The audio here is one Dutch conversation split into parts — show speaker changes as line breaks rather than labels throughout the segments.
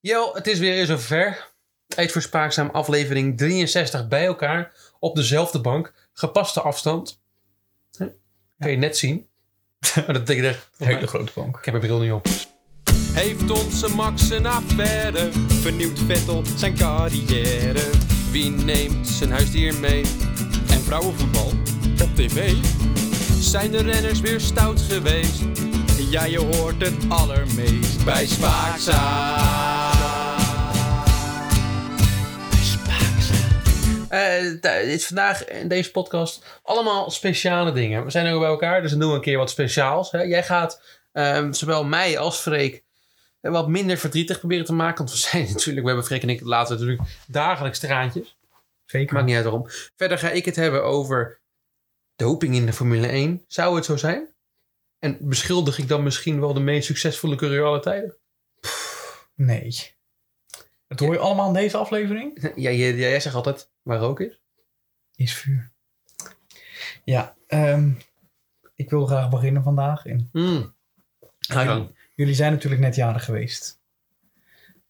Yo, het is weer eens zover. Tijd voor Spaakzaam, aflevering 63 bij elkaar. Op dezelfde bank. Gepaste afstand. Hè? Kan je net zien. Maar dat betekent echt...
Hele grote bank.
Ik heb mijn bril niet op.
Heeft onze Max een affaire? Vernieuwt Vettel zijn carrière? Wie neemt zijn huisdier mee? En vrouwenvoetbal op tv? Zijn de renners weer stout geweest? Ja, je hoort het allermeest bij Spaakzaam.
Eh, t- dit is vandaag in deze podcast allemaal speciale dingen. We zijn ook bij elkaar, dus dan doen we een keer wat speciaals. Hè? Jij gaat ehm, zowel mij als Freek eh, wat minder verdrietig proberen te maken. Want we zijn natuurlijk, we hebben Freek en ik later natuurlijk dagelijks traantjes.
Zeker.
Maakt niet uit waarom. Verder ga ik het hebben over doping in de Formule 1. Zou het zo zijn? En beschuldig ik dan misschien wel de meest succesvolle coureur aller tijden?
nee. Dat hoor je allemaal in deze aflevering?
Ja, jij, jij zegt altijd waar rook is.
Is vuur. Ja, ehm, ik wil graag beginnen vandaag. En
Mm. Ga je gang.
jullie zijn natuurlijk net jarig geweest.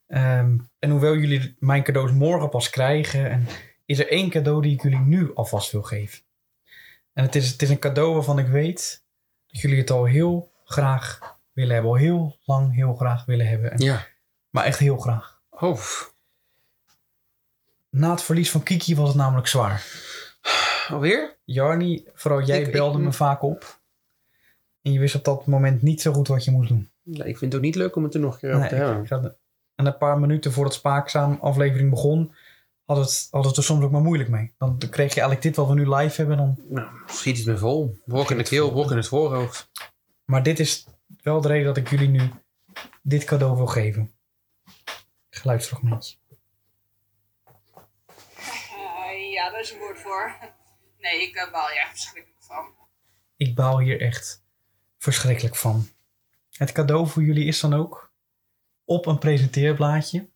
Ehm, en hoewel jullie mijn cadeaus morgen pas krijgen, en is er één cadeau die ik jullie nu alvast wil geven. En het is, het is een cadeau waarvan ik weet dat jullie het al heel graag willen hebben. Al heel lang heel graag willen hebben. En-
Ja.
Maar echt heel graag.
Oh.
Na het verlies van Kiki was het namelijk zwaar.
Alweer?
Jarni, vooral jij
Ik- ik-
belde me vaak op. En je wist op dat moment niet zo goed wat je moest doen.
Nee, ik vind het ook niet leuk om het er nog een keer over
Nee,
te
ik-
hebben.
ik had- en een paar minuten voordat Spaakzaam aflevering begon, had het, had het er soms ook maar moeilijk mee. Dan kreeg je eigenlijk dit wat we nu live hebben. Dan,
Nou, schiet het me vol. Brok in de keel, brok in het voorhoofd.
maar dit is wel de reden dat ik jullie nu dit cadeau wil geven. Geluidsfragmentje.
Eh, ja, daar is een woord voor. Nee, ik eh, baal er echt verschrikkelijk van.
Ik baal hier echt verschrikkelijk van. Het cadeau voor jullie is dan ook op een presenteerblaadje.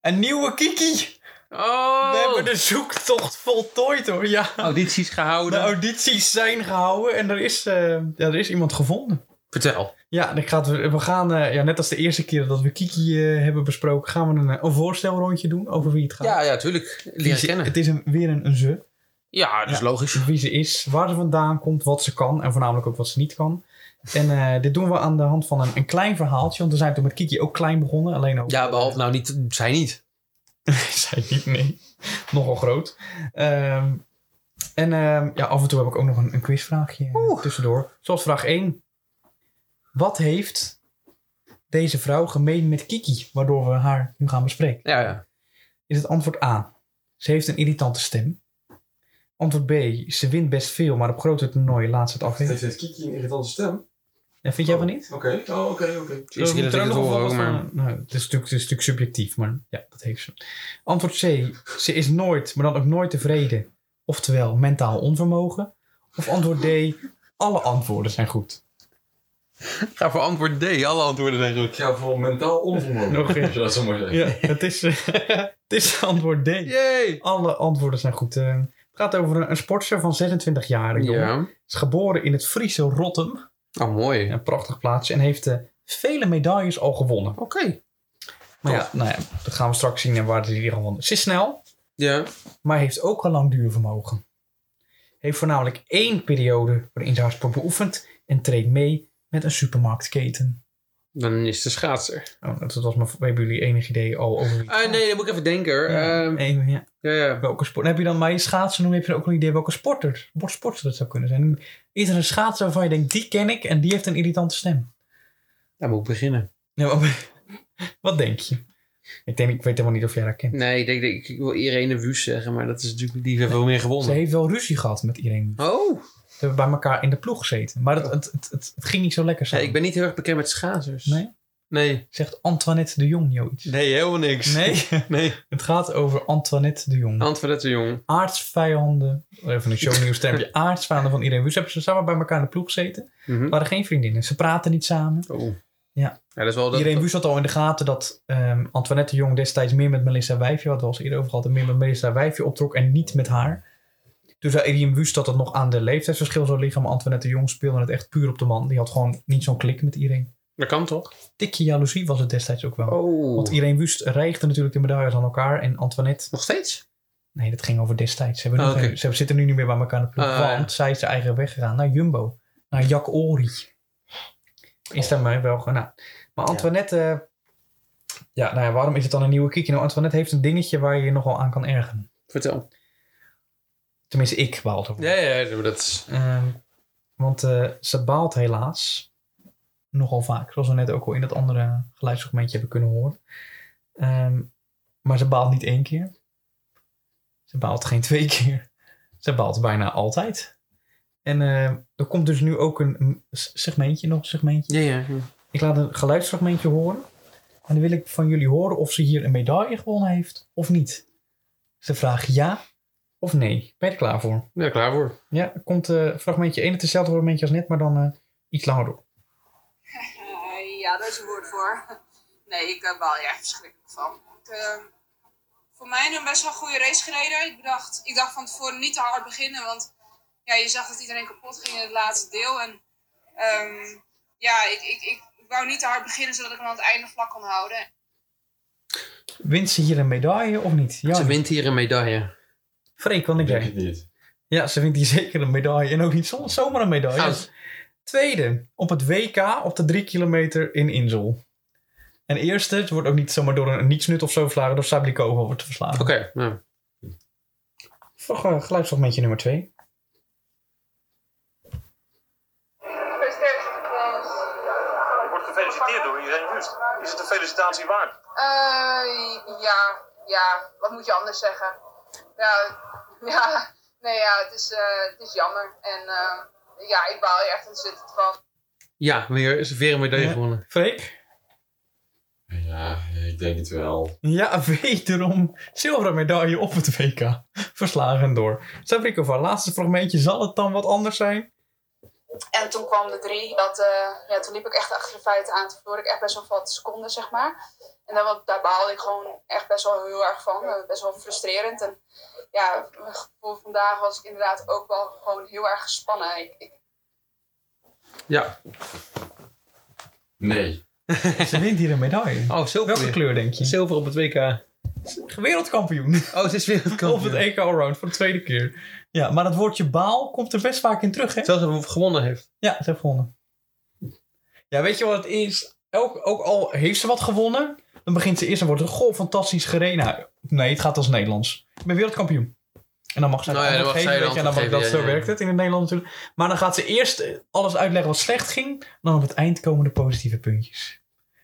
Een nieuwe Kiki!
Oh!
We hebben de zoektocht voltooid hoor. Ja,
audities
de
gehouden.
audities zijn gehouden en er is, eh, ja, er is iemand gevonden.
Vertel.
Ja, dan gaat, we we gaan, eh, ja, net als de eerste keer dat we Kiki eh, hebben besproken, gaan we een, eh, een voorstelrondje doen over wie het gaat.
Ja, ja, tuurlijk.
Wie
Leren
ze-
kennen.
Het is een, weer een, een ze.
Ja, dat is
Ja.
logisch.
wie ze is, waar ze vandaan komt, wat ze kan en voornamelijk ook wat ze niet kan. En eh, dit doen we aan de hand van een, een klein verhaaltje, want we zijn toen met Kiki ook klein begonnen, alleen ook.
Ja, behalve nou niet, zij niet.
Zij niet, nee. Nogal groot. Ehm, en ehm, ja, af en toe heb ik ook nog een, een quizvraagje eh, tussendoor. Zoals vraag 1. Wat heeft deze vrouw gemeen met Kiki, waardoor we haar nu gaan bespreken?
Ja, ja.
is het antwoord A. Ze heeft een irritante stem. Antwoord B. Ze wint best veel, maar op grote toernooien laat ze het afweten.
Heeft het Kiki een irritante stem?
Ja, vind jij van niet?
Oké, oh, oké, oké.
Het is
Zullen we
dat ik het
trouwens nog
hoor
wel
ook,
wat
maar...
van- nou, het, is natuurlijk, het is natuurlijk subjectief, maar ja, dat heeft ze. Antwoord C. Ze is nooit, maar dan ook nooit tevreden. Oftewel, mentaal onvermogen. Of antwoord D. Alle antwoorden zijn goed.
Ga voor antwoord D. Alle antwoorden zijn goed.
Ik ga voor mentaal onvermogen.
Nog eens.
Als je dat zo mooi zegt.
Ja, het is, eh, het is antwoord D.
Yay!
Alle antwoorden zijn goed. Eh, het gaat over een, een sportster van 26 jaar. jongen.
Ja.
Is geboren in het Friese Rottum.
Oh, mooi.
Een prachtig plaatsje. En heeft eh, vele medailles al gewonnen.
Oké.
Maar ja, nou ja, dat gaan we straks zien en waar ze die gewonnen. Ze is snel,
Ja.
maar heeft ook een langduurvermogen. Heeft voornamelijk één periode waarin ze haar sport beoefent. En treedt mee met een supermarktketen.
Dan is de schaatser.
Oh, dat was maar, hebben jullie enig idee al over wie het
Ah,
gaat?
nee, dan moet ik even denken. hoor.
Ja,
Ehm,
even, ja.
ja, ja.
Welke sport? Heb je dan bij je schaatsen noemen, heb je dan ook een idee welke sporter, wat sporter dat zou kunnen zijn? Is er een schaatser waarvan je denkt, die ken ik en die heeft een irritante stem?
Daar moet ik beginnen.
Ja, maar- wat denk je? Ik, denk, ik weet helemaal niet of jij haar kent.
Nee, ik, denk, dat ik, ik wil Irene Wüst zeggen, maar dat is natuurlijk... Die heeft wel meer
Ze
gewonnen.
heeft wel ruzie gehad met iedereen.
Oh!
Ze hebben bij elkaar in de ploeg gezeten. Maar het, het, het, het, het ging niet zo lekker
Ja,
samen.
ik ben niet heel erg bekend met schaatsers.
Nee?
Nee.
Zegt Antoinette de Jong jou iets?
Nee, helemaal niks.
Nee?
Nee. Oh.
het gaat over Antoinette de Jong.
Antwoordette, jong.
Aardsvijanden. Even een shownieuw stempje. Aardsvijanden van iedereen. Dus hebben ze samen bij elkaar in de ploeg gezeten.
Mhm.
waren geen vriendinnen. Ze praten niet samen.
Oh.
Ja.
dat is wel... Dat,
Iedereen wist had al in de gaten dat ehm, Antoinette de Jong destijds meer met Melissa Wijfje, wat we al eens eerder over hadden, meer met Melissa Wijfje optrok en niet met haar. Toen zei Irene Wust dat het nog aan de leeftijdsverschil zou liggen, maar Antoinette de Jong speelde het echt puur op de man. Die had gewoon niet zo'n klik met iedereen.
Dat kan toch?
Tikje jaloezie was het destijds ook wel. Want
Oh.
Irene Wust reigde natuurlijk de medailles aan elkaar. En Antoinette,
Nog steeds?
nee, dat ging over destijds. Ze, hebben
Oh,
nu geen-
oké.
ze hebben- zitten nu niet meer bij elkaar in de ploeg.
Ah, ja.
want zij is haar eigen weg gegaan naar Jumbo. Naar Jack Ori. Is daarmee wel gedaan. Maar Antoinette, eh, ja, nou ja, waarom is het dan een nieuwe Kiki? Nou, Antoinette heeft een dingetje waar je je nogal aan kan ergeren.
Vertel.
Tenminste, ik baal ervan.
Ja, ja, ja, maar dat is...
Ehm, want eh, ze baalt helaas nogal vaak, zoals we net ook al in dat andere geluidsfragmentje hebben kunnen horen. Ehm, maar ze baalt niet één keer. Ze baalt geen twee keer. Ze baalt bijna altijd. En eh, er komt dus nu ook een, een s- segmentje, nog een segmentje.
Ja, ja.
Ik laat een geluidsfragmentje horen. En dan wil ik van jullie horen of ze hier een medaille gewonnen heeft of niet. Ze vraagt ja of nee. Ben je er klaar voor?
Ja, klaar voor.
Ja, er komt eh, fragmentje 1, het is hetzelfde fragmentje als net, maar dan eh, iets langer door.
Eh, ja, daar is een woord voor. Nee, ik eh, baal er echt verschrikkelijk van. Ik, eh, voor mij een best wel goede race gereden. Ik, bedacht, ik dacht van tevoren niet te hard beginnen, want ja, je zag dat iedereen kapot ging in het laatste deel. En ehm, ja, ik, ik, ik, wou niet te hard beginnen, zodat ik hem aan het einde vlak kon houden.
Wint ze hier een medaille of niet? Ja,
Ze wint hier een medaille.
Freek, want ik
Denk
denk.
het niet.
Ja, ze wint hier zeker een medaille en ook niet zo- zomaar een medaille.
Goud.
Tweede, op het WK op de 3 kilometer in Insel. En eerste, het wordt ook niet zomaar door een nietsnut of zo verslagen, door Sablikova wordt te verslagen.
Oké, nou.
Voor eh, geluidsfragmentje nummer 2.
Gefeliciteerd, Klaus.
Wordt gefeliciteerd door iedereen Wust. Is het een felicitatie waard?
Eh, ja, ja, wat moet je anders zeggen? Ja, ja nee, ja, het is, eh, het is jammer. En eh, ja, ik baal er echt ontzettend van.
Ja, weer, is weer een medaille
Ja.
gewonnen.
Freek?
Ja, ik denk het wel.
Ja, wederom zilveren medaille op het WK. Verslagen door Sablikova. Laatste fragmentje, zal het dan wat anders zijn?
En toen kwam de drie. Dat, eh, ja, toen liep ik echt achter de feiten aan. Toen verloor ik echt best wel wat seconden, zeg maar. En daar, wa- daar baalde ik gewoon echt best wel heel erg van. Eh, best wel frustrerend. En ja, mijn gevoel vandaag was ik inderdaad ook wel gewoon heel erg gespannen. Ik, ik,
Ja.
Nee.
Ze wint hier een medaille.
Oh, zilver
Welke
weer.
kleur denk je?
Zilver op het WK.
Wereldkampioen.
Oh, ze is wereldkampioen.
Op het E. EK Allround voor de tweede keer. Ja, maar dat woordje baal komt er best vaak in terug, hè?
Zelfs als ze gewonnen heeft.
Ja, ze heeft gewonnen. Ja, weet je wat het is? Ook, ook al heeft ze wat gewonnen, dan begint ze eerst en wordt er goh, fantastisch gereden. Nou, Nee, het gaat als Nederlands. Ik ben wereldkampioen. En dan mag ze
Nou ja,
het
dan mag
antwoord
zij
geven, weet je, en
het
dan mag
antwoord
dat
geven,
zo
ja, ja.
werkt het in het Nederlands natuurlijk. Maar dan gaat ze eerst eh, alles uitleggen wat slecht ging. En dan op het eind komen de positieve puntjes.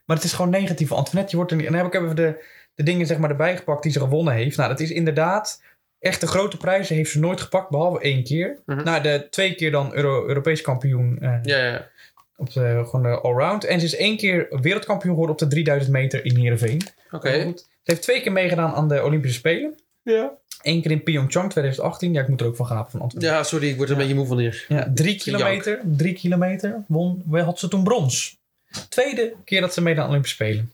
Maar het is gewoon negatief. Antoinette, je wordt er niet... En dan heb ik even de, de dingen zeg maar erbij gepakt die ze gewonnen heeft. Nou, dat is inderdaad... Echt de grote prijzen heeft ze nooit gepakt, behalve één keer.
Mhm.
Nou, de twee keer dan Euro, Europees kampioen eh,
Ja, ja, ja.
op de, gewoon de allround. En ze is één keer wereldkampioen geworden op de 3000 meter in Heerenveen.
Oké.
Heel goed. Ze heeft twee keer meegedaan aan de Olympische Spelen.
Ja.
Eén keer in Pyeongchang 2018. Ja, ik moet er ook van gapen van antwoorden.
Ja, sorry, ik word er een beetje moe van hier.
Ja, drie kilometer. Drie kilometer. Won, wel had ze toen brons. Tweede keer dat ze meedeed aan de Olympische Spelen.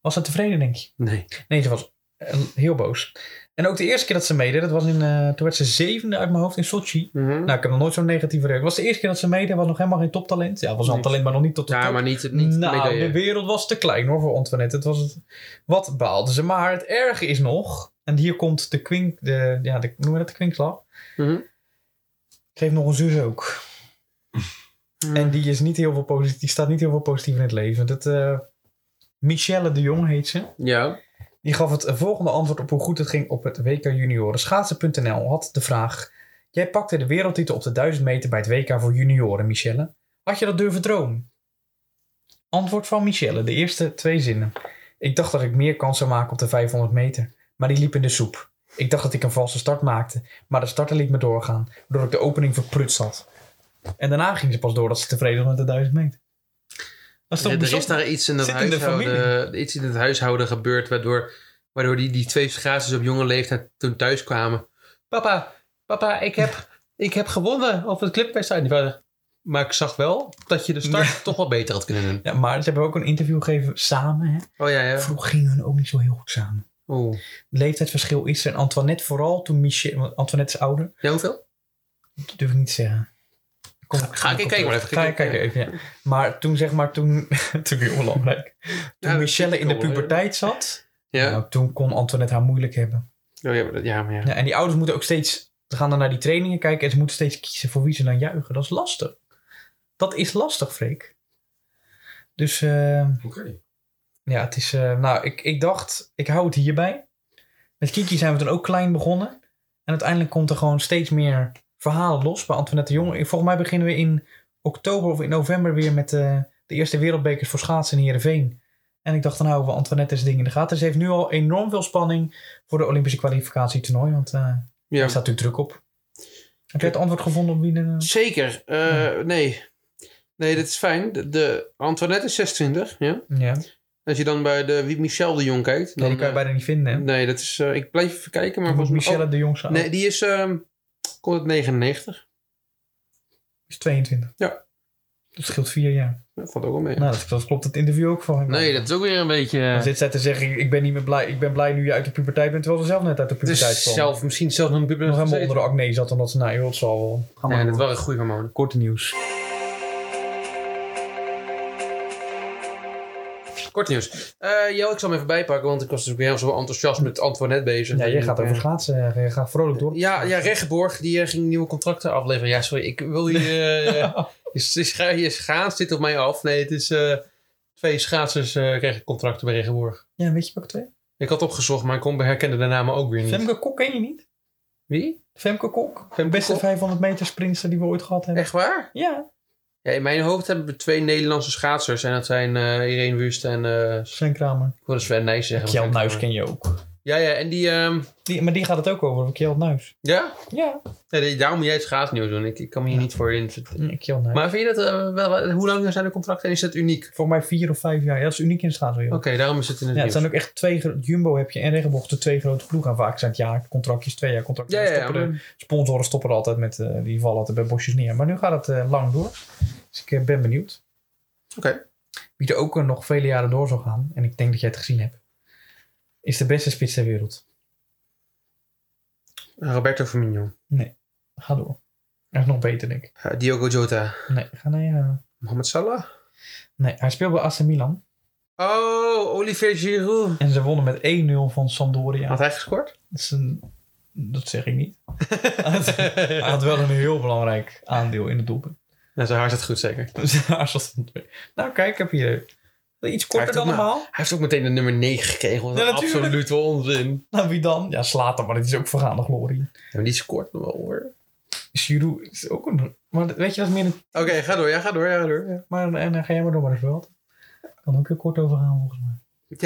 Was ze tevreden, denk je?
Nee.
Nee, ze was eh, heel boos. En ook de eerste keer dat ze meedeed, dat was in, eh, toen werd ze zevende uit mijn hoofd in Sochi.
Mhm.
Nou, ik heb nog nooit zo'n negatieve reactie. Was de eerste keer dat ze meedeed, was nog helemaal geen toptalent. Ja, was wel een
Nee.
talent, maar nog niet tot de
ja,
top.
maar niet, niet
nou,
medaille.
de wereld was te klein hoor voor Antoinette. Het was het, wat baalde ze. Maar het erge is nog, en hier komt de kwink, de, ja, de, noemen we dat de kwinkslag?
Mhm.
Ze heeft nog een zus ook. En die, is niet heel veel positief, die staat niet heel veel positief in het leven. Dat, eh, Michelle de Jong heet ze.
Ja.
Die gaf het volgende antwoord op hoe goed het ging op het WK Junioren. Schaatsen.nl had de vraag: Jij pakte de wereldtitel op de 1000 meter bij het WK voor junioren, Michelle. Had je dat durven dromen? Antwoord van Michelle, de eerste twee zinnen. Ik dacht dat ik meer kans zou maken op de 500 meter, maar die liep in de soep. Ik dacht dat ik een valse start maakte, maar de starter liet me doorgaan, waardoor ik de opening verprutst had. En daarna ging ze pas door dat ze tevreden was met de 1000 meter. Dat is toch
Er, er is
bijzonder?
daar iets in, dat
Zit in de
huishouden, iets in het huishouden gebeurd waardoor, waardoor die, die twee schaatsers op jonge leeftijd toen thuis kwamen. Papa, papa, ik heb, ik heb gewonnen op het clubwedstrijd. Die waren, Maar ik zag wel dat je de start toch wel beter had kunnen doen.
Ja, maar ze hebben ook een interview gegeven samen, hè?
Oh ja, ja.
Eh, Vroeger gingen hun ook niet zo heel goed samen.
Oeh.
Leeftijdsverschil is er. En Antoinette vooral toen Michelle... want Antoinette is ouder.
Ja, hoeveel?
Dat durf ik niet te zeggen. Kom,
Ga ik- ik kijk maar even.
Ga ik kijken even, ja. Maar toen zeg maar, toen... toen weer onbelangrijk. Toen
dat
Michelle
is
in de
wel, hè.
puberteit zat,
Ja.
nou, toen kon Antoinette haar moeilijk hebben.
Oh, ja, maar, dat- ja, maar ja.
Ja, en die ouders moeten ook steeds... Ze gaan dan naar die trainingen kijken en ze moeten steeds kiezen voor wie ze dan juichen. Dat is lastig. Dat is lastig, Freek. Dus... ehm,
Oké.
Ja, het is. eh, nou, ik, ik dacht, ik hou het hierbij. Met Kiki zijn we toen ook klein begonnen. En uiteindelijk komt er gewoon steeds meer verhalen los bij Antoinette de Jong. Volgens mij beginnen we in oktober of in november weer met eh, de eerste wereldbekers voor schaatsen in Heerenveen. En ik dacht, dan houden we Antoinette's ding in de gaten. Ze heeft nu al enorm veel spanning voor de Olympische kwalificatietoernooi. Want eh daar
Ja.
staat natuurlijk druk op. Heb jij het antwoord gevonden op wie de...
Zeker. Eh,
Hm.
Nee. Nee, dat is fijn. De, de Antoinette is 26. Ja.
Ja,
Als je dan bij de wie Michel de Jong kijkt.
nee,
Dan,
die kan je
eh,
bijna niet vinden. hè?
Nee, dat is. eh, ik blijf even kijken, maar
Dan moet
volgens mij.
Michelle de Jong zijn.
oh, nee, die is. ehm komt uit 99.
is 22.
Ja.
Dat scheelt vier jaar.
Dat valt ook wel mee.
Nou, dat, dat klopt het interview ook van hem.
Nee, dat is ook weer een beetje. eh,
Als dit zij te zeggen, ik- ik ben niet meer blij, ik ben blij nu je uit de puberteit bent, terwijl ze zelf net uit de puberteit
dus
kwam.
zelf, misschien zelf een
nog
publiek.
helemaal onder de acne zat, omdat ze, nou joh, het zal wel. Ga maar
Nee, dat
door.
is wel een goede hormoon.
Korte nieuws.
Kort nieuws. Eh Jo, ik zal hem even bijpakken, want ik was dus weer heel zo enthousiast met Antoinette bezig.
Ja, jij gaat
Eh,
over schaatsen, eh, jij gaat vrolijk door.
Ja, ja, Regenborg, die eh, ging nieuwe contracten afleveren. Ja, sorry, ik wil je... eh, je, scha- je schaats zit op mij af. Nee, het is... eh, twee schaatsers eh, kregen contracten bij Regenborg.
Ja, weet je welke twee?
Ik had opgezocht, maar ik kon, herkende de namen ook weer niet.
Femke Kok ken je niet?
Wie?
Femke Kok?
Femke
beste
Kok?
500 meter sprinter die we ooit gehad hebben.
Echt waar?
Ja,
Ja, in mijn hoofd hebben we twee Nederlandse schaatsers. En dat zijn eh, Irene Wust en... eh,
Sven Kramer.
ik wilde Sven Nijs zeggen.
Kjeld
maar-
Nuis ken je ook.
Ja, ja, en die... ehm,
Die, maar die gaat het ook over, Kjeld Nuis.
ja?
Ja,
ja, die- daarom moet jij het schaatsnieuws doen. Ik, ik kan me hier niet voor in...
nee, Kjeld Nuis.
Maar vind je dat... eh, wel, hoe lang zijn de contracten en is dat uniek?
Voor mij vier of vijf jaar. Ja, dat is uniek in de schaatsen. joh.
Oké, daarom is het in het
Ja, het
nieuws.
zijn ook echt twee, gro- Jumbo heb je en Regenboog, de twee grote ploegen. En vaak zijn het jaarcontractjes, twee jaar contracten.
Ja, ja, ja,
Stoppen de sponsoren stoppen er altijd met, eh, die vallen altijd bij bosjes neer. Maar nu gaat het eh, lang door. Dus ik eh, ben benieuwd.
Oké.
Wie er ook eh, nog vele jaren door zal gaan, en ik denk dat jij het gezien hebt, is de beste spits ter wereld.
Roberto Firmino.
Ga door. Echt nog beter, denk ik.
Eh, Diogo Jota.
Nee, ga naar, eh,
Mohamed Salah.
nee, hij speelt bij AC Milan.
Oh, Olivier Giroud.
En ze wonnen met 1-0 van Sampdoria.
Had hij gescoord?
Dat, is een, dat zeg ik niet. hij had wel een heel belangrijk aandeel in het doelpunt.
Ja, zijn haar zat goed zeker.
Dus daar zat het mee. Nou, kijk, ik heb hier iets
Hij
korter
heeft
dan
ook maar-
normaal.
Hij heeft ook meteen de nummer 9 gekregen. want
Ja,
dat is
natuurlijk.
absoluut onzin.
Nou, wie dan? Ja, Slater, maar dat is ook vergaande glorie. Dus
Ja, maar die scoort nog wel hoor.
Giroud is ook een... Maar weet je, dat is meer een...
Oké, ga door. Ja, ga door. Ja, ga door. Ja,
Maar en, dan ga jij maar door, maar dat is wel wat. Kan ook heel kort over gaan, volgens mij.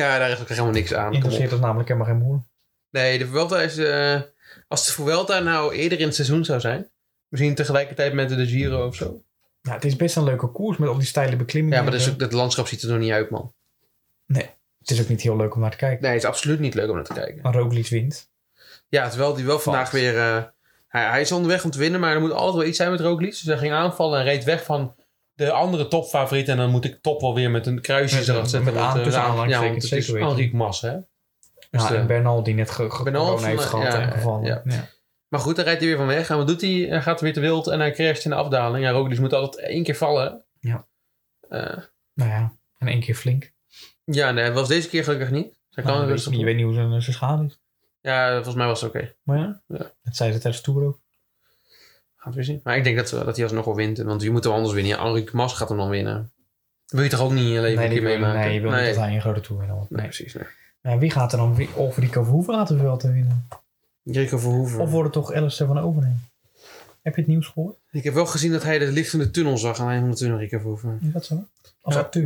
Ja, daar is ook echt helemaal niks aan. Kom op.
Interesseert ons namelijk helemaal geen moer.
Nee, de Vuelta is... eh, als de Vuelta nou eerder in het seizoen zou zijn... Misschien tegelijkertijd met de Giro of zo.
Nou, het is best een leuke koers met al die steile beklimmingen.
Ja, maar dat, is ook, dat landschap ziet er nog niet uit, man.
Het is ook niet heel leuk om naar te kijken.
Nee, het is absoluut niet leuk om naar te kijken.
Maar Roglic wint.
Ja, terwijl die wel vandaag weer... eh, hij, hij is onderweg om te winnen, maar er moet altijd wel iets zijn met Roglic. Dus hij ging aanvallen en reed weg van de andere topfavoriet. En dan moet ik top wel weer met een kruisje
Met-
erachter zetten.
met
want,
aan-
eh,
tussen
ja,
aanhalingstekens,
want het
zeker
is
weten.
Henrique Mas, hè. Dus,
Ja,
eh,
Nou, en Bernal die net ge, ge-
Bernal
corona heeft
van-
gehad
ja,
en gevallen.
ja.
Ja.
maar goed, dan rijdt hij weer van weg. En wat doet hij? Hij gaat weer te wild en hij crasht in de afdaling. Ja, Roglic moet altijd één keer vallen.
Ja.
Eh,
Nou ja, en één keer flink.
ja, nee, het was deze keer gelukkig niet. Hij kan dus
Nou, je, weet,
rustig
niet- je weet niet hoe zijn, zijn schade is.
Ja, volgens mij was het oké.
Maar ja,
Ja.
dat zei ze tijdens de Tour ook.
Gaat weer zien. Maar ik denk dat, eh, dat hij alsnog wel wint. Want je moet hem anders winnen. Henrique Mas gaat hem dan winnen. Wil je toch ook niet in je leven
Nee,
een
die
keer
wil,
meemaken?
nee, je wil niet dat hij een grote Tour wint. want-
Nee, precies. Nee.
Ja, wie gaat er dan? wie- Of Rico Verhoeven gaat er wel te winnen.
Rico Verhoeven.
Of wordt het toch Alistair van Overheen? Heb je het nieuws gehoord?
Ik heb wel gezien dat hij het licht in de tunnel zag. Alleen moet toen Rico Verhoeven.
Is dat zo? Als
Ja.
acteur.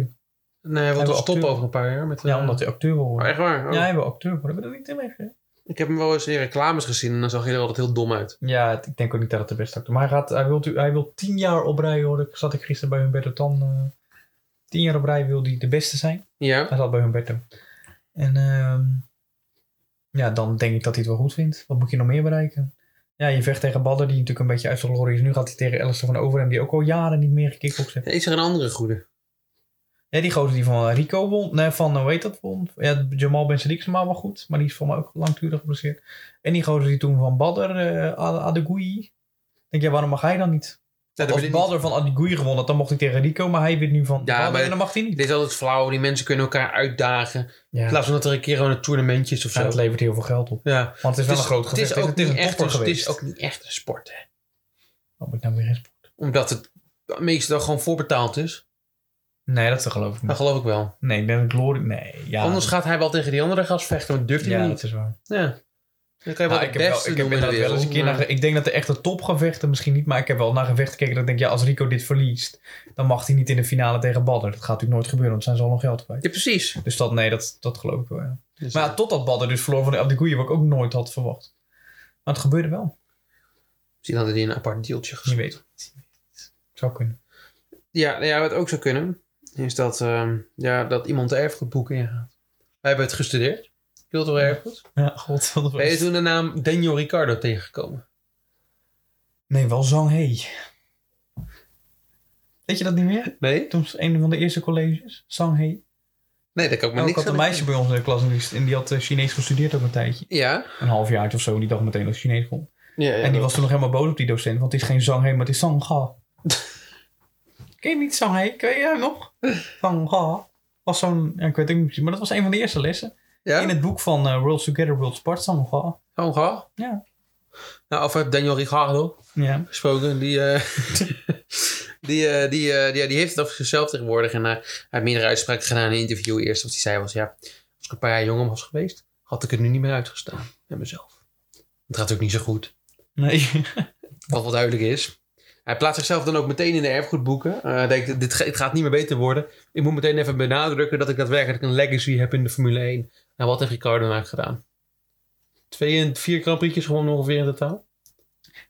Nee, hij wil
Hij
toch
wil
stoppen
acteur.
over een paar jaar. Met,
Ja,
eh,
omdat hij acteur wil
Oh,
worden.
echt waar? Oh.
Ja, hij wil acteur worden. Heb je dat niet in meegekregen?
Ik heb hem wel eens in reclames gezien. En dan zag hij er altijd heel dom uit.
Ja, het- ik denk ook niet dat het de beste acteur is. Maar hij, gaat, hij, wil, tu- hij wil tien jaar op rij hoor. Ik zat ik gisteren bij Humberto Tan. eh, tien jaar op rij wil hij de beste zijn.
Ja.
Hij zat bij Humberto. En ehm, ja, dan denk ik dat hij het wel goed vindt. Wat moet je nog meer bereiken? Ja, je vecht tegen Badder, die natuurlijk een beetje uit zijn glorie is. Nu gaat hij tegen Alistair van Overhem, die ook al jaren niet meer gekickboxd heeft.
Ja, Is er een andere goede?
Ja, die gozer die van Rico won. Nee, van, eh, hoe heet dat, won. Ja, Jamal Ben Sadik is maar wel goed. Maar die is voor mij ook langdurig geblesseerd. En die gozer die toen van Badder, eh Adegui. Denk jij, waarom mag hij dan niet?
dat
als
weet ik
Balder van Adiguir gewonnen had, dan mocht hij tegen Rico, maar hij wint nu van
Ja,
ja, Balder
maar-
en dan mag hij
Dit
niet.
is altijd flauw. Die mensen kunnen elkaar uitdagen.
Ja,
In plaats van dat er een keer gewoon een toernamentje is of
Ja,
zo.
het levert heel veel geld op.
Ja.
Want het is wel een groot gevecht.
Het is ook niet echt een-
topper
het is
geweest.
ook niet echt een sport. Hè.
Wat moet ik nou weer eens...
Omdat het meestal gewoon voorbetaald is.
Nee, dat geloof ik
Dat
niet.
geloof ik wel.
Nee, ik ben Glory... Nee, ja.
Anders gaat hij wel tegen die andere gast vechten. Maar dat durft hij
Ja,
niet.
dat is waar.
Ja. Dan kan je wel
Nou, ik
het
heb
beste
wel, ik heb
doen in de
inderdaad wel eens een
wereld,
keer
maar-
naar... Ik denk dat de echte topgevechten misschien niet, maar ik heb wel naar gevechten gekeken dat ik denk, ja, als Rico dit verliest, dan mag hij niet in de finale tegen Badder. Dat gaat natuurlijk nooit gebeuren, want zijn ze al nog geld kwijt.
Ja, precies.
Dus dat, nee, dat, dat geloof ik wel, ja.
Dus,
Maar ja, totdat Badder dus verloor van de Abdegoeie, wat ik ook nooit had verwacht. Maar het gebeurde wel.
Misschien hadden die een apart deeltje
Je
gesloten.
weet het niet. Zou kunnen.
Ja, nou ja, wat ook zou kunnen, is dat, ehm, ja, dat iemand de erfgoedboek ingaat. Wij hebben het gestudeerd. Cultureel erfgoed.
Ja, god. wat een-
Ben je toen de naam Daniel Ricardo tegengekomen?
Nee, wel Zhang He. Weet je dat niet meer?
Nee?
Toen was een van de eerste colleges, Zhang He.
Nee, dat kan Oh, ik me
Nou, ik
niks
had een
aan
meisje bij ons in de klas en die- en die had eh, Chinees gestudeerd ook een tijdje.
Ja.
Een half jaar of zo, die dacht meteen dat het Chinees kon.
ja, ja
en die
dat-
was toen nog helemaal boos op die docent, want het is geen Zhang He, maar het is Zhang Ga. Ken je niet Zhang He? Ken je hem nog? Zhang Ga. Was zo'n, ja, ik weet het ook niet precies, maar dat was een van de eerste lessen.
Ja?
In het boek van eh, World Together, World Apart, Zhang Ga.
Gewoon ga.
Ja.
Nou, over Daniel Ricardo
Ja.
gesproken. Die, eh, die, eh, die, eh, die, die heeft het over zichzelf tegenwoordig. En eh, hij heeft meerdere uitspraken gedaan in een interview. Eerst wat hij zei was, ja, als ik een paar jaar jonger was geweest, had ik het nu niet meer uitgestaan met mezelf. Het gaat ook niet zo goed.
Nee.
Wat wel duidelijk is. Hij plaatst zichzelf dan ook meteen in de erfgoedboeken. Eh, Hij denkt, dit ga- het gaat niet meer beter worden. Ik moet meteen even benadrukken dat ik daadwerkelijk een legacy heb in de Formule 1. En wat heeft Ricardo nou gedaan? Twee en vier Grand Prix'tjes gewoon ongeveer in totaal.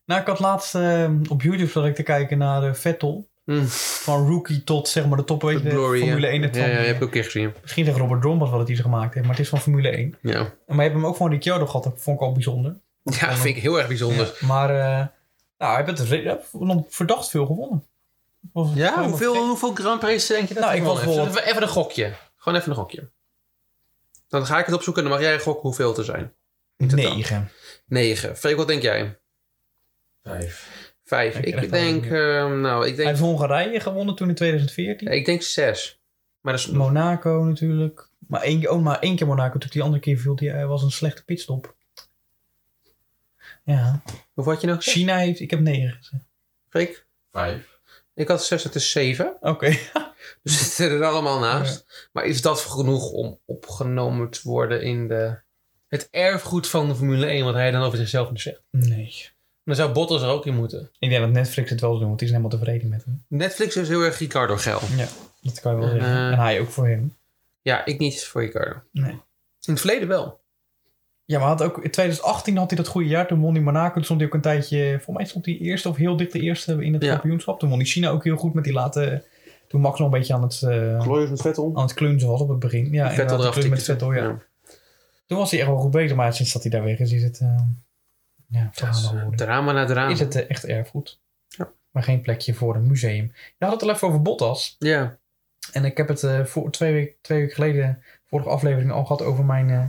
Nou, ik had laatst eh, op YouTube zat ik te kijken naar eh, Vettel.
Mm.
Van rookie tot zeg maar de top, weet je, de Formule 1.
Ja,
Het
ja, ja, heb ik ook een keer gezien.
Misschien tegen Robert Drombas wat het iets gemaakt heeft, maar het is van Formule 1.
Ja,
Maar je hebt hem ook van Ricciardo gehad, dat vond ik al bijzonder.
ja dat vind ik heel erg bijzonder.
Maar eh, nou, hij heeft het re- ja, nog verdacht veel gewonnen. Was het
Ja,
gewoon nog
hoeveel, hoeveel Grand Prix denk je dat
Nou,
hij
ik was
gewonnen heeft?
bijvoorbeeld-
Even een gokje. Gewoon even een gokje. Dan ga ik het opzoeken en dan mag jij gokken hoeveel te zijn.
steeds?
totaal.
Negen.
9. Freek, wat denk jij?
Vijf.
Vijf.
Ik
Ik,
krijg
denk,
wel
ehm, nou, ik
Hij
denk,
heeft Hongarije gewonnen toen in 2014.
ik denk zes. Maar dat is
Monaco natuurlijk. Maar één, oh, maar één keer Monaco natuurlijk. Die andere keer viel die, eh, was een slechte pitstop. Ja.
Hoeveel had je nou? gezegd,
China heeft... Ik heb negen gezegd.
Freek?
Vijf.
Ik had zes, het is zeven.
Oké.
We zitten er allemaal naast. Maar is dat genoeg om opgenomen te worden in de, het erfgoed van de Formule 1, wat hij dan over zichzelf nu zegt?
Nee.
Dan zou Bottas er ook in moeten.
Ik denk dat Netflix het wel doet, want die is helemaal tevreden met hem.
Netflix is heel erg Ricardo geil.
Dat kan je wel
Eh.
zeggen. En hij ook voor hem.
Ja, ik niet voor Ricardo.
Nee.
In het verleden wel.
Ja, maar hij had ook, in 2018 had hij dat goede jaar. Toen won hij Monaco. Toen stond hij ook een tijdje... Voor mij stond hij eerste of heel dicht de eerste in het
Ja.
kampioenschap. Toen won hij China ook heel goed met die late... Toen Max nog een beetje aan het, eh,
Glorious met Vettel.
aan het klunzen was op het begin. Ja, en
Vettel erachter.
met Vettel, ja. Toen was hij echt wel goed bezig, maar sinds dat hij daar weg is, is het... eh, ja,
Dat is,
verhalen
eh,
geworden.
Drama na drama.
Is het eh, echt erfgoed.
Ja.
Maar geen plekje voor een museum. Je had het al even over Bottas.
Ja.
En ik heb het eh, voor twee weken twee weken geleden, vorige aflevering, al gehad over mijn... eh,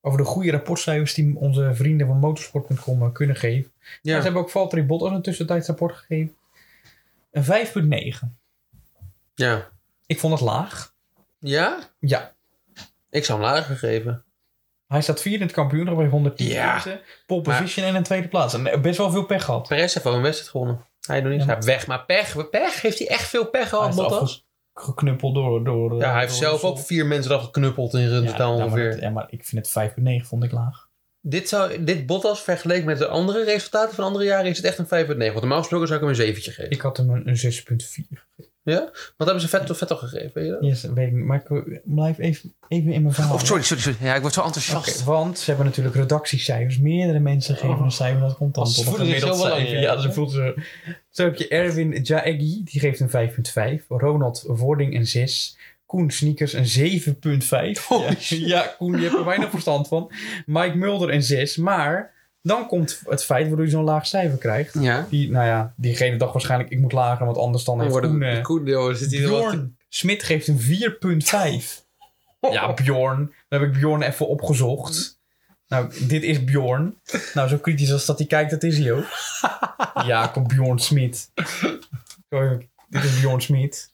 over de goede rapportcijfers die onze vrienden van motorsport.com eh, kunnen geven.
ja.
Maar Ze hebben ook Valtteri Bottas een tussentijdsrapport gegeven. Een 5,9.
ja.
Ik vond dat laag.
Ja?
Ja.
Ik zou hem lager geven.
Hij staat vierde in het kampioenschap bij 110
Ja.
punten. Pole position en een tweede plaats. En eh, best wel veel pech gehad.
Perez heeft al een wedstrijd gewonnen. Hij doet niets.
Ja,
Hij weg, maar pech. Pech? Heeft hij echt veel pech
Hij
gehad,
is
Bottas?
afge- Geknuppeld door... door
Ja, hij heeft zelf ook vier mensen eraf geknuppeld in
een
totaal ongeveer.
nou, Maar, dat- eh, ja, maar ik vind het 5,9 vond ik laag.
Dit, zou, dit Bottas vergeleken met de andere resultaten van andere jaren is het echt een 5,9. Want normaal gesproken zou ik hem een zeventje geven.
Ik had hem een, een 6,4.
Want hebben ze Vettel Vettel gegeven, weet je dat?
Yes, weet ik niet. Maar ik blijf even, even in mijn verhaal.
Oh, sorry, sorry, sorry. Ja, ik word zo
Oké,
enthousiast.
want ze hebben natuurlijk redactiecijfers. Meerdere mensen geven een cijfer. Dat komt dan
Oh. Ze
tot een
voelen zich
gemiddeld
zo
cijfer.
belangrijk.
Ja, ze voelt ze... Zo heb je Erwin Jaegi, die geeft een 5,5. Ronald Voording een 6. Koen Sneakers een 7,5. ja. ja, Koen, je hebt er weinig verstand van. Mike Mulder een 6. Maar dan komt het feit waardoor je zo'n laag cijfer krijgt.
Ja.
Die, nou ja, diegene dacht waarschijnlijk, ik moet lager, want anders dan
Dan
heeft Koen...
worden
eh,
de Koen, joh, zit hier wel te-
Bjorn Smit geeft een 4,5. Ja, Bjorn. Dan heb ik Bjorn even opgezocht. Nou, dit is Bjorn. Nou, zo kritisch als dat hij kijkt, dat is hij ook. Jacob Bjorn Smit. Sorry, dit is Bjorn Smit.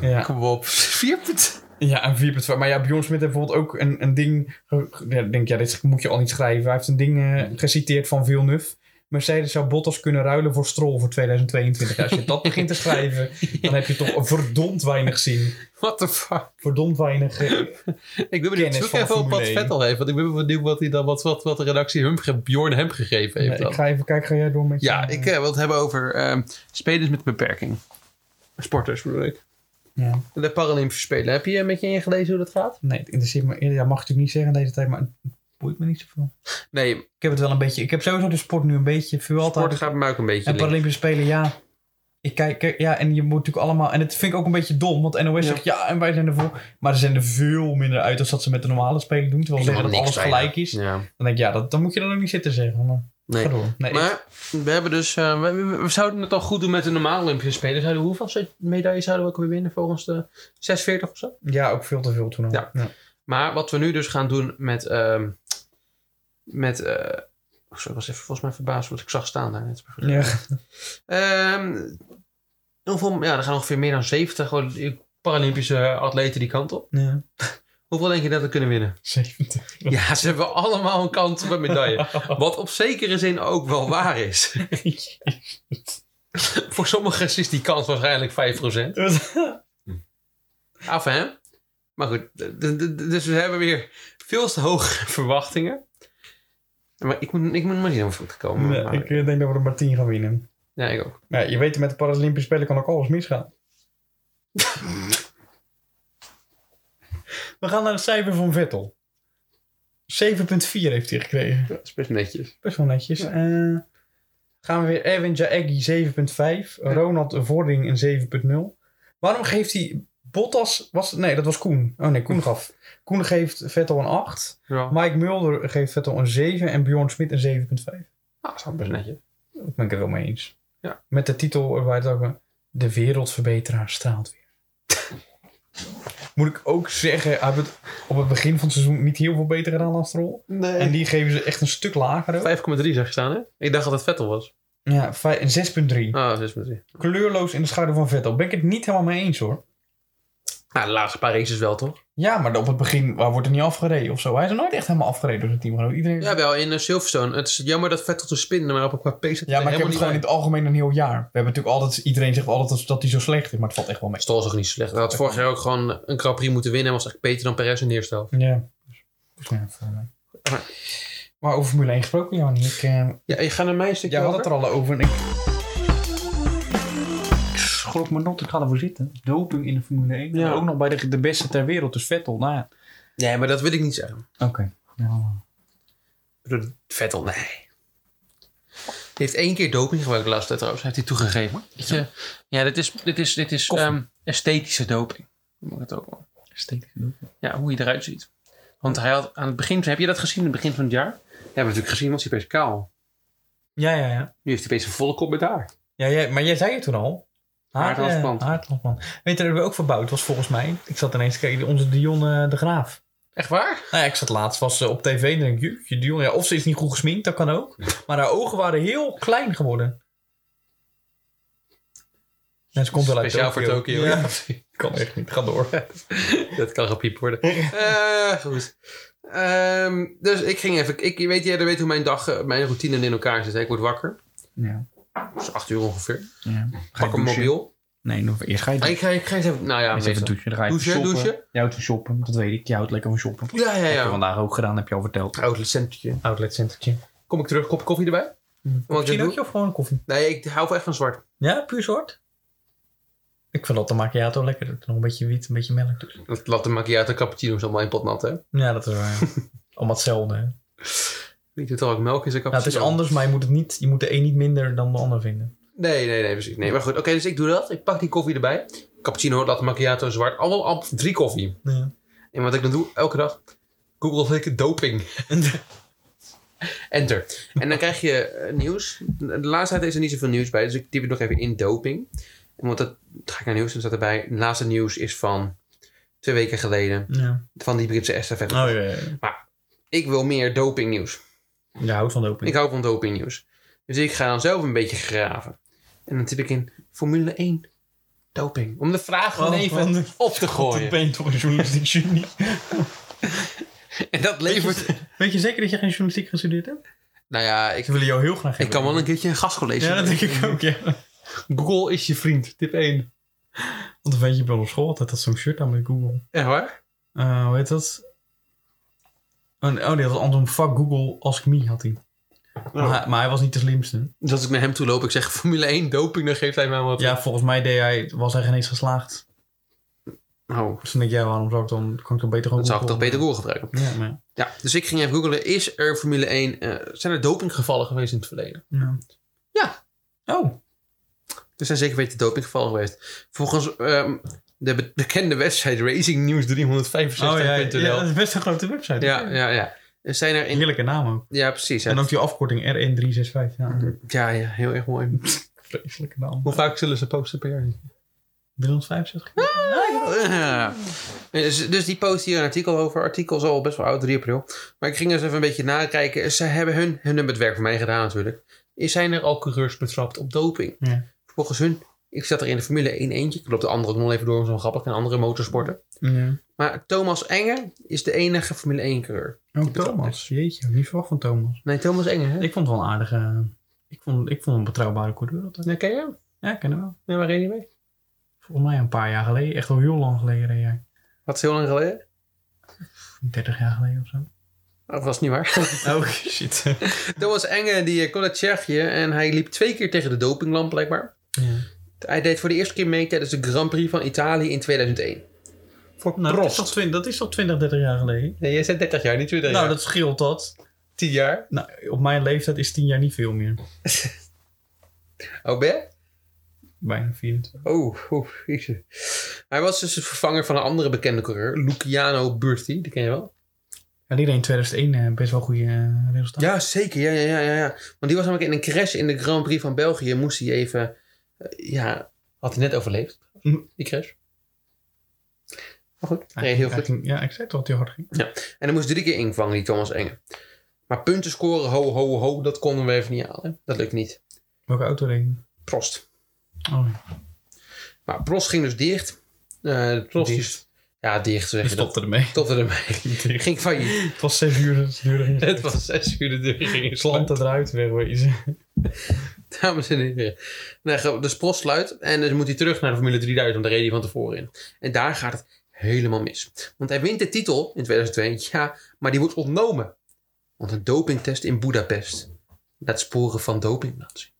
Ja.
Kom op. Vier punten.
Ja, een 4.5. Maar ja, Bjorn Smit heeft bijvoorbeeld ook een, een ding... ge- ge- Ja, ik denk, ja, dit moet je al niet schrijven. Hij heeft een ding eh, geciteerd van Villeneuve. Mercedes zou Bottas kunnen ruilen voor Stroll voor 2022. Ja, als je dat begint te schrijven, dan heb je toch verdomd weinig zien.
What the fuck.
Verdomd weinig... eh,
Ik ben benieuwd.
Kennis
Zoek
van
even op wat
Formule één.
Vettel heeft. Want ik ben benieuwd wat, hij dan, wat, wat, wat de redactie hem, ge- Bjorn hem gegeven heeft.
nee,
dan.
ik ga even kijken, ga jij door met je-
Ja, ik eh, wil het hebben over ehm, spelers met een beperking. Sporters bedoel ik.
Ja.
De Paralympische Spelen. Heb je een beetje ingelezen hoe dat gaat?
Nee, het interesseert me. Ja, mag ik natuurlijk niet zeggen deze tijd, maar het boeit me niet zoveel.
Nee,
Ik heb het wel een beetje. Ik heb sowieso de sport nu een beetje. Vuur
sport
altijd.
gaat bij mij ook een beetje
En
links.
Paralympische Spelen, ja. Ik kijk, kijk, ja, en je moet natuurlijk allemaal. En het vind ik ook een beetje dom, want NOS
Ja.
zegt ja, en wij zijn ervoor. Maar ze zijn er veel minder uit als dat ze met de normale spelen doen. Terwijl ze zeggen dat
Helemaal
alles
niks
gelijk is.
Ja,
Dan denk ik, ja, dat, dan moet je dan ook niet zitten zeggen. Maar
nee.
ga door. Nee, ik-
Maar we hebben dus... eh, we, we- we zouden het al goed doen met de normale Olympische Spelen. Zouden, hoeveel zo- medailles zouden we ook weer winnen? Volgens de 46 of zo?
ja, ook veel te veel toen al.
Ja.
ja.
Maar wat we nu dus gaan doen met... ehm met eh, sorry, ik was even volgens mij verbaasd wat ik zag staan daar net.
Ja.
Ehm, hoeveel, ja, er gaan ongeveer meer dan 70 gewoon Paralympische atleten die kant op.
Ja.
Hoeveel denk je dat we kunnen winnen?
70.
Ja, ze hebben allemaal een kans op een medaille. Wat op zekere zin ook wel waar is. Voor sommigen is die kans waarschijnlijk 5%. Af hè? Maar goed, d- d- d- dus we hebben weer veel te hoge verwachtingen. Maar ik moet, ik moet maar niet over te komen.
Nee,
maar-
ik eh, denk dat we er maar 10 gaan winnen.
ja, ik ook.
Maar ja, je weet, met de Paralympische Spelen kan ook alles misgaan. We gaan naar het cijfer van Vettel. 7,4 heeft hij gekregen.
Ja, dat is best netjes.
Best wel netjes. Eh, gaan we weer Erwin Jaeggi 7,5. Ronald Vording een 7,0. Waarom geeft hij Bottas... Was, nee, dat was Koen. Oh nee, Koen gaf. Koen geeft Vettel een 8.
Ja,
Mike Mulder geeft Vettel een 7. En Bjorn Smit een 7,5.
Ah, dat is wel best netjes.
Dat ben ik er wel mee eens.
Ja.
Met de titel waar het ook een- De Wereldverbeteraar straalt weer. Moet ik ook zeggen, hij heeft het op het begin van het seizoen niet heel veel beter gedaan dan Stroll. En
Nee. 5,3
die geven ze echt een stuk lager. ook.
zag je staan, hè? Ik dacht dat het Vettel was.
Ja, vij- en 6,3.
Ah, 6,3.
Kleurloos in de schaduw van Vettel. Ben ik het niet helemaal mee eens hoor.
Nou, de laatste paar races wel, toch?
Ja, maar op het begin waar wordt er niet afgereden of zo. Hij is er nooit echt helemaal afgereden door zijn team. Iedereen...
Ja, wel in eh, Silverstone. Het is jammer dat Vettel te spinnen, maar op een qua pace zit hij
Ja, maar ik heb
helemaal
het gewoon in
niet
het algemeen een heel jaar. We hebben natuurlijk altijd, iedereen zegt altijd dat- dat hij zo slecht is, maar het valt echt wel mee.
bij. Stol is ook niet slecht. Hij had vorig jaar ook gewoon een Grand Prix moeten winnen en was echt beter dan Perez in de eerste helft.
Ja. Dus ja, voor mij. Maar over Formule 1 gesproken, Jan. Ik, eh
Ja, je gaat naar mij een stukje
jij had
over.
het er al over. En ik... Schrok me not, ik ga ervoor zitten. Doping in de Formule 1.
Ja.
En ook nog bij de, de beste ter wereld, dus Vettel. Nou ja.
Nee, maar dat wil ik niet zeggen. Ik
Oké.
bedoel, Vettel, nee. Hij heeft één keer doping gebruikt de laatste tijd trouwens. Heeft hij toegegeven. Weet je? Ja, dit is, dit is, dit is
Koffie.
ehm, esthetische doping. Moet ik het ook wel. Ja, hoe je eruit ziet. Want hij had aan het begin... Heb je dat gezien, aan het begin van het jaar? Ja, we hebben natuurlijk gezien, want hij is best kaal.
Ja, ja, ja.
Nu heeft hij opeens een volle kop met haar.
ja jij, maar jij zei het toen al.
Haartransplant.
Eh, haartransplant. Weet je, dat hebben we ook verbouwd was volgens mij. Ik zat ineens te kijken, onze Dion eh, de Graaf.
Echt waar?
Nou ja, ik zat laatst was eh, op tv en denk ik, jeetje, Dion. Ja, of ze is niet goed gesminkt, dat kan ook. Maar haar ogen waren heel klein geworden. Ja, ze komt wel uit
Speciaal voor Tokio. Ja.
Kan echt niet. Ga door.
dat kan gepiept worden. Eh, goed. Ehm, dus ik ging even... Ik, je weet, jij weet hoe mijn dag, eh, mijn routine in elkaar zit. hè? Ik word wakker.
Ja.
Dus acht uur ongeveer.
ja.
Pak een mobiel. Ah,
Nee, nog, eerst ga je
Ik ga, ik ga eens even... Nou ja, meestal.
douchen. Dan ga
Douchen, douchen.
Je houdt van shoppen, dat weet ik. Je houdt lekker van shoppen.
Ja, ja, ja.
vandaag ook gedaan, heb je al verteld.
Outlet centertje.
Outletcentertje.
Kom ik terug, kop koffie erbij? Want ik doe,
Chinootje of gewoon een koffie?
nee, ik hou wel echt van zwart.
Ja, puur zwart. Ik vind dat macchiato lekker. Dat er nog een beetje wit, een beetje melk doet.
Dat latte macchiato cappuccino is allemaal in potnat, hè?
Ja, dat is waar. ja. Allemaal hetzelfde. hè.
Ik doe toch ook melk in zijn
Nou, het
cappuccino.
is anders, maar je moet, het niet, je moet de een niet minder dan de ander vinden.
Nee, nee, nee, precies. Nee, maar goed. Oké, dus ik doe dat. Ik pak die koffie erbij. Cappuccino, latte macchiato, zwart. Allemaal al drie koffie.
Ja.
En wat ik dan doe, elke dag, google ik doping. Enter. En dan krijg je eh, nieuws. De laatste tijd is er niet zoveel nieuws bij, dus ik typ het nog even in doping. En Want dat dan ga ik naar nieuws en dan staat erbij. Het laatste nieuws is van twee weken geleden.
ja.
Van die Britse estafette.
Oh ja, ja.
ik wil meer dopingnieuws.
Ja, houdt van doping.
Ik hou van dopingnieuws. Dus ik ga dan zelf een beetje graven. En dan typ ik in Formule 1 doping. Om de vraag gewoon
Oh,
even
want-
op te
Dan
gooien.
ben je toch een journalistiek genie.
En dat levert...
Weet je zeker dat je geen journalistiek gestudeerd hebt?
Nou ja, ik,
Ze willen jou heel graag hebben.
ik kan wel een keertje een gastcollege
Ja, dat denk ik ook, ja.
Google is je vriend. Tip 1.
Want dan weet je wel op school altijd dat zo'n shirt aan met Google.
Echt waar?
Eh, hoe heet dat? Een- oh, die had andersom. Fuck Google, ask me had hij. Maar, hij- maar hij was niet de slimste.
Dus als ik naar hem toe loop, ik zeg Formule 1 doping, dan geeft hij mij wat.
Ja, volgens mij deed hij, was hij geen eens geslaagd.
Oh,
Dus dan denk ik, ja, waarom zou ik dan... Kan ik dan beter gewoon
dat zou ik toch
Google?
beter Google gebruiken.
Ja, maar ja.
Ja, dus ik ging even googlen. Is er Formule 1... eh, zijn er dopinggevallen geweest in het verleden? Ja.
Oh,
Er zijn zeker weten dopinggevallen geweest. Volgens ehm, de be- bekende website Racing News 365.nl.
oh ja,
ja,
ja, dat is best een grote website.
ja, ja, Er Zijn er
Een
in...
Heerlijke naam ook.
Ja, precies. Ja,
En ook die afkorting RN365. Ja,
ja, ja, heel erg mooi.
vreselijke naam.
Hoe vaak zullen ze posten per jaar?
365?
Ja. Dus, dus die post hier een artikel over. Artikel is al best wel oud, 3 april. Maar ik ging dus even een beetje nakijken. Ze hebben hun, hun hebben het werk voor mij gedaan natuurlijk. Is- Zijn er al coureurs betrapt op doping?
Ja.
Volgens hun, ik zat er in de Formule 1 eentje. Ik loop de andere ook nog even door, zo'n grappig. En andere motorsporten.
Ja.
Maar Thomas Enge is de enige Formule 1 coureur.
Oh, Thomas. Jeetje, niet verwacht van Thomas.
Nee, Thomas Enge, hè?
Ik vond het wel een aardige... Ik vond, ik vond hem een betrouwbare coureur altijd.
Nee, ken je hem?
Ja, ik ken hem wel.
Nee, waar reed hij mee?
Volgens mij een paar jaar geleden. Echt al heel lang geleden reed jij.
Wat is heel lang geleden?
30 jaar geleden of zo.
Of was het niet waar?
Oh, shit.
Thomas Enge, die eh, kwam uit Tsjechië. En hij liep twee keer tegen de dopinglamp, blijkbaar.
Ja.
Hij deed voor de eerste keer mee tijdens de Grand Prix van Italië in 2001. Voor
Nou, dat is,
Prost.
toch 20, dat is toch 20, 30 jaar geleden?
Nee, jij zei 30 jaar, niet 20
Nou,
jaar.
dat scheelt dat.
10 jaar.
Nou, op mijn leeftijd is 10 jaar niet veel meer.
Oh, ben je?
Bijna 24.
Oh, oh, jeetje. Hij was dus het vervanger van een andere bekende coureur, Luciano Burti, die ken je wel.
Ja, die reed in 2001 eh, best wel goede eh, resultaten.
Ja, zeker. Ja, ja, ja, ja, ja. Want die was namelijk in een crash in de Grand Prix van België. Moest hij even... eh, ja, had hij net overleefd,
Mm.
die crash. Maar goed, hij
Hij
reed
ging-
heel
hij
goed.
ging- ja, ik zei toch dat hij hard ging.
En hij moest drie keer invangen, die Thomas Enge. Maar punten scoren, ho, ho, ho, dat konden we even niet halen. Dat lukt niet.
Welke auto reed hij?
Prost.
Oh, ja.
Maar Prost ging dus dicht. Eh Prost die-
Dicht.
ja, dicht zeg
Die
je dat.
stopte ermee.
Stopte ermee.
Dicht.
Dus ging failliet.
Het was 6 uur, dus het duurde ging
Het was zes uur de deur ging
Slant
sluiten.
eruit wegwezen.
Dames en heren. Nou, ge- dus Prost sluit en dan moet hij terug naar de Formule 3000. want Daar reed hij van tevoren in. En daar gaat het helemaal mis. Want hij wint de titel in 2002. Ja, maar die wordt ontnomen. Want een dopingtest in Budapest laat sporen van doping laten zien.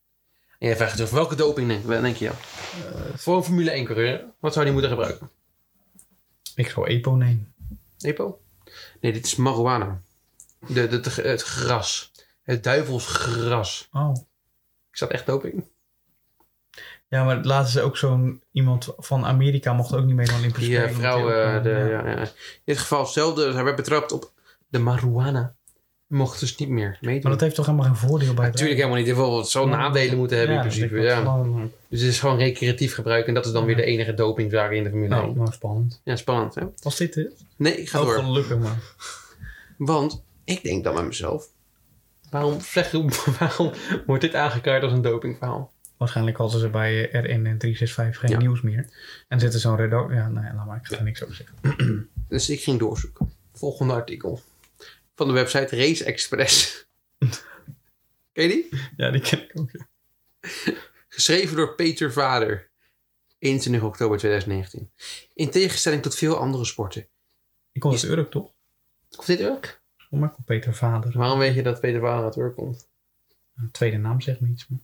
En jij vraagt je af welke doping denk, wel, denk je ja. Voor een Formule 1 coureur, wat zou die moeten gebruiken?
Ik zou EPO nemen.
Epo? Nee, dit is marijuana. De, de, de- het gras. Het duivelsgras.
Oh.
Ik zat echt doping.
Ja, maar laten ze ook zo'n iemand van Amerika mocht ook niet mee naar Olympische
Die eh,
Spelen, want
vrouw,
die ook,
eh,
eh,
de,
ja.
ja, ja. in dit geval hetzelfde. Dus hij werd betrapt op de marijuana. Mocht dus niet meer meedoen.
Maar dat heeft toch helemaal geen voordeel bij. het
Natuurlijk helemaal niet. Heel het zou
Ja.
nadelen moeten hebben in
dat
principe.
denk ik
Ja.
wel. Nou,
Dus het is gewoon recreatief gebruik. En dat is dan weer de enige dopingzaak in de Formule
Nou,
1.
nou, spannend.
Ja, spannend hè?
Was dit het?
Nee, ik ga
Oh,
door.
gelukkig maar.
Want ik denk dan bij mezelf. Waarom, zeg- waarom wordt dit aangekaart als een dopingverhaal?
Waarschijnlijk hadden ze bij eh, RN en 365 geen
Ja.
nieuws meer. En zitten zo'n redactie... Ja, nee, laat maar. Ik ga er niks over zeggen.
Dus ik ging doorzoeken. Volgende artikel. Van de website Race Express. Ken je die?
Ja, die ken ik ook. ja.
Geschreven door Peter Vader. 21 oktober 2019. In tegenstelling tot veel andere sporten.
Ik kom uit Urk, toch?
Komt dit Urk?
Volgens mij komt Peter Vader.
Waarom weet je dat Peter Vader uit Urk komt?
Een tweede naam zegt me iets. Maar...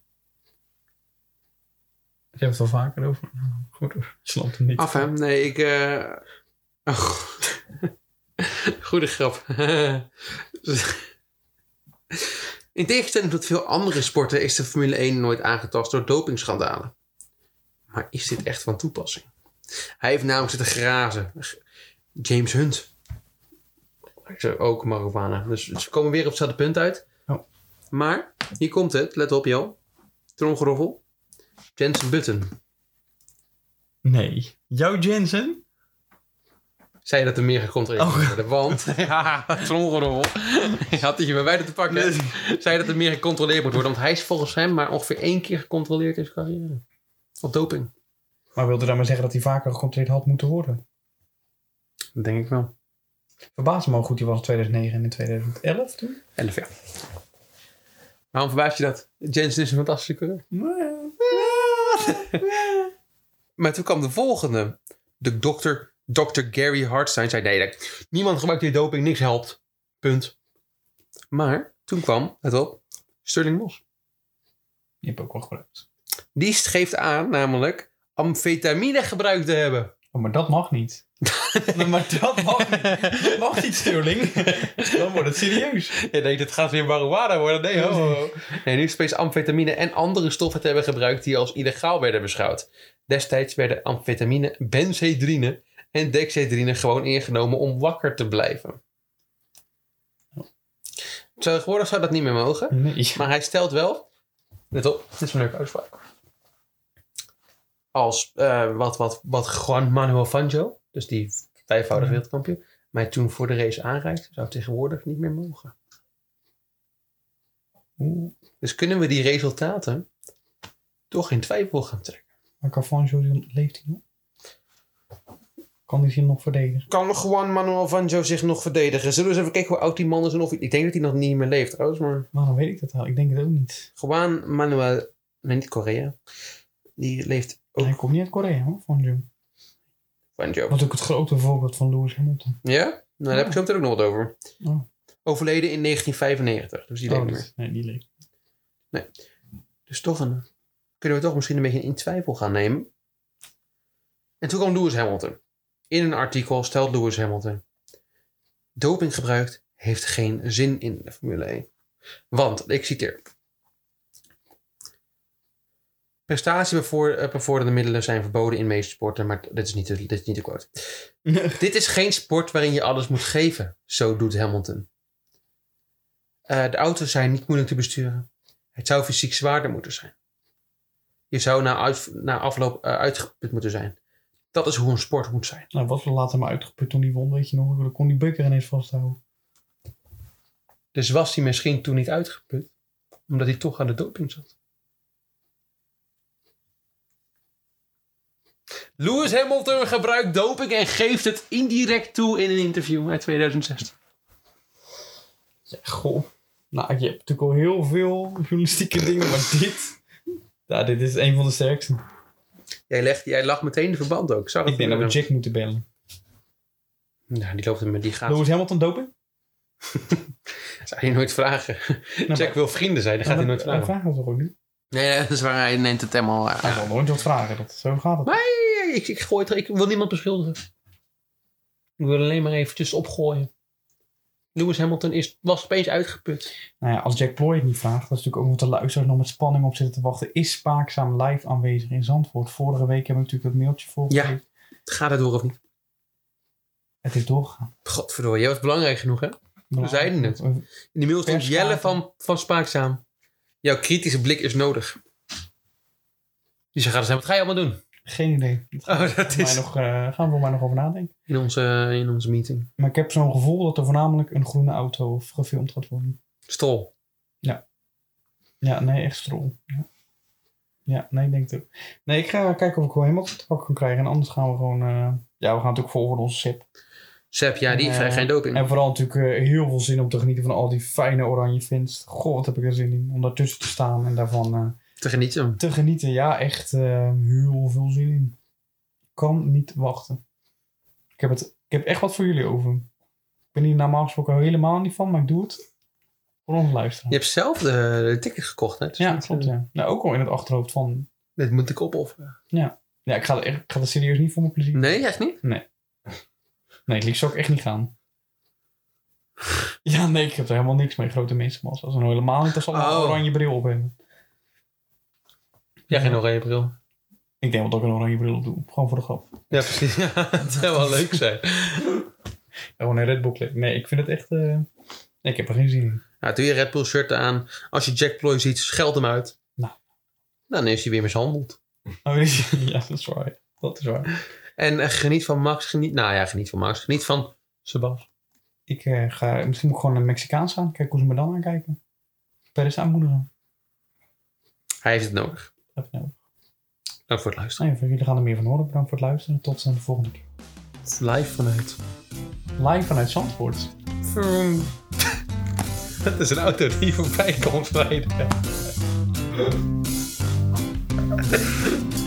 Ze hebben het wel vaker over. Nou, Goed hoor. Slant het niet.
Af hè? Nee, ik... eh, oh, goed. Goede grap. In tegenstelling tot veel andere sporten is de Formule 1 nooit aangetast door dopingschandalen. Maar is dit echt van toepassing? Hij heeft namelijk zitten grazen. James Hunt. Ik zei ook marijuana. Dus ze komen weer op hetzelfde punt uit.
Oh.
Maar, hier komt het. Let op, Jo. Tromgeroffel. Jensen Button.
Nee. Jouw Jensen?
zei je dat er meer gecontroleerd
Oh.
moest worden. Want, ja, tromgerommel. Je had het je bij mij te pakken. Zei je dat er meer gecontroleerd moet worden. Want hij is volgens hem maar ongeveer één keer gecontroleerd in zijn carrière. Op doping.
Maar wilde dan maar zeggen dat hij vaker gecontroleerd had moeten worden?
Dat denk ik wel.
Verbaasd me hoe goed hij was in 2009 en in 2011 toen.
En ja. Waarom verbaas je dat? Jensen is een fantastische coureur. Maar toen kwam de volgende. De dokter, Dr. Gary Hartstein zei... Nee, dat- niemand gebruikt hier doping, niks helpt. Punt. Maar toen kwam, let op, Sterling Moss.
Die heb ik ook wel gebruikt.
Die geeft aan namelijk amfetamine gebruikt te hebben.
Oh, maar dat mag niet. Maar- maar dat mag niet. Dat mag niet, Sterling. Dan wordt het serieus.
Je denkt, het gaat weer marijuana worden. Nee, ho, ho. Nee, nu is het opeens amfetamine en andere stoffen te hebben gebruikt die als illegaal werden beschouwd. Destijds werden amfetamine, benzedrine en dexedrine gewoon ingenomen om wakker te blijven. Tegenwoordig zou dat niet meer mogen.
Nee.
Maar hij stelt wel. Let op, dit is mijn leuke uitspraak. Als eh, wat, wat, wat Juan Manuel Fangio, dus die vijfvoudig wereldkampioen, mij toen voor de race aanreikt, zou het tegenwoordig niet meer mogen. Dus kunnen we die resultaten toch in twijfel gaan trekken?
Maar Carfangio die leeft hij nog? Kan hij zich nog verdedigen?
Kan Juan Manuel Fangio zich nog verdedigen? Zullen we eens even kijken hoe oud die man is en of hij- Ik denk dat hij nog niet meer leeft trouwens, maar...
Waarom weet ik dat al? Ik denk het ook niet.
Juan Manuel... Nee, niet Korea. Die leeft ook
Hij komt niet uit Korea, hoor, Fangio.
Fangio.
Wat ook het grote voorbeeld van Lewis Hamilton.
Ja? Nou, daar heb ik zo meteen ook nog wat over.
Oh.
Overleden in 1995, dus die leeft
Oh,
niet
dat-
meer.
Nee, die leeft.
Dus toch een, kunnen we toch misschien een beetje in twijfel gaan nemen. En toen kwam Lewis Hamilton. In een artikel stelt Lewis Hamilton... Doping gebruikt heeft geen zin in de Formule 1. Want, ik citeer... Prestatiebevorderende middelen zijn verboden in meeste sporten, maar dit is niet de, dit is niet de quote. Dit is geen sport waarin je alles moet geven, zo doet Hamilton. Eh, de auto's zijn niet moeilijk te besturen. Het zou fysiek zwaarder moeten zijn. Je zou na, uit- na afloop eh, uitgeput moeten zijn. Dat is hoe een sport moet zijn.
nou, was we later maar uitgeput toen hij won, weet je nog. Dan kon die beker ineens vasthouden.
Dus was hij misschien toen niet uitgeput, omdat hij toch aan de doping zat. Lewis Hamilton gebruikt doping en geeft het indirect toe in een interview uit 2016.
Ja, goh. Nou, je hebt natuurlijk al heel veel journalistieke dingen, maar dit... Ja, dit is een van de sterkste.
Jij, legt, jij lag meteen de verband ook. Ik zag
Ik denk dat we Jack moeten bellen.
Ja, Nou, die loopt er met die gaat.
Lewis Hamilton doping?
Zou je nooit vragen.
maar-
Jack wil vrienden zijn, dat gaat hij nooit
vragen.
vragen.
Vraag dat toch ook niet?
Nee, dat is waar. Hij neemt het helemaal
Hij zal nooit wat vragen. Dat, zo gaat het.
Nee, ik, ik, gooi het, ik wil niemand beschuldigen. Ik wil alleen maar eventjes opgooien. Lewis Hamilton is, was opeens uitgeput.
Nou ja, als Jack Ploy het niet vraagt, dat is natuurlijk ook wat de luisteraars nog met spanning op zitten te wachten. Is Spaakzaam live aanwezig in Zandvoort? Vorige week hebben we natuurlijk dat mailtje voorgelegd.
Gaat het door of niet?
Het is doorgegaan.
Godverdorie, jij was belangrijk genoeg hè? We zeiden het. In de mail stond
Perspraken.
Jelle van, van Spaakzaam. Jouw kritische blik is nodig. Dus je gaat eens zeggen, wat ga je allemaal doen?
Geen idee.
Oh, dat
Is...
is
Nog, eh, gaan we er maar nog over nadenken.
in onze, in onze meeting.
Maar ik heb zo'n gevoel dat er voornamelijk een groene auto gefilmd gaat worden.
Stol.
Ja, nee, echt strol. Ja, ja nee, ik denk het ook. Nee, ik ga kijken of ik wel helemaal te pakken kan krijgen. En anders gaan we gewoon... eh, Ja, we gaan natuurlijk volgen onze SIP.
Sep, ja, die
Eh,
krijgt geen doping.
En vooral natuurlijk eh, heel veel zin om te genieten van al die fijne oranje vins. Goh, wat heb ik er zin in om daartussen te staan en daarvan eh,
Te genieten.
te genieten. Ja, echt eh, heel veel zin in. Kan niet wachten. Ik heb, het, ik heb echt wat voor jullie over. Ik ben hier normaal gesproken helemaal niet van, maar ik doe het voor ons luisteren.
Je hebt zelf de, de ticket gekocht, hè? Dus
ja,
niet,
klopt.
eh,
Ja. Nou, ook al in het achterhoofd van...
Dit moet ik opofferen.
Ja, ik ga er, echt- ik ga er serieus niet voor mijn plezier.
Nee, echt niet?
Nee, het liefst zou ik echt niet gaan. Ja, nee, ik heb er helemaal niks mee. Grote mensenmassa. Dat is nou helemaal niet als ze allemaal
Oh.
een oranje bril op hebben.
Ja, geen oranje bril.
Ik denk dat ik een oranje bril op doe. Gewoon voor de grap.
Ja, precies. Ja, het zou wel leuk zijn.
Gewoon een Red Bull clip. Oh, Nee, ik vind het echt... eh, nee, ik heb er geen zin in.
Nou, doe je Red Bull shirt aan. Als je Jack Ploy ziet, scheld hem uit.
Nou.
Dan is hij weer mishandeld.
Oh, dit is- ja, dat is waar. Dat is waar.
En eh, geniet van Max. Geniet, nou ja, geniet van Max. Geniet van Sebas.
Ik eh, ga, misschien moet ik gewoon een Mexicaans aan. Kijk hoe ze me dan aankijken. Peres aanmoedigen.
Hij heeft het nodig.
Even nou.
Dank voor het luisteren.
Nou ja, voor jullie gaan er meer van horen. Bedankt voor het luisteren. Tot eh, de volgende keer.
Live vanuit.
Live vanuit Zandvoort.
Vroom. Dat is een auto die voorbij komt rijden.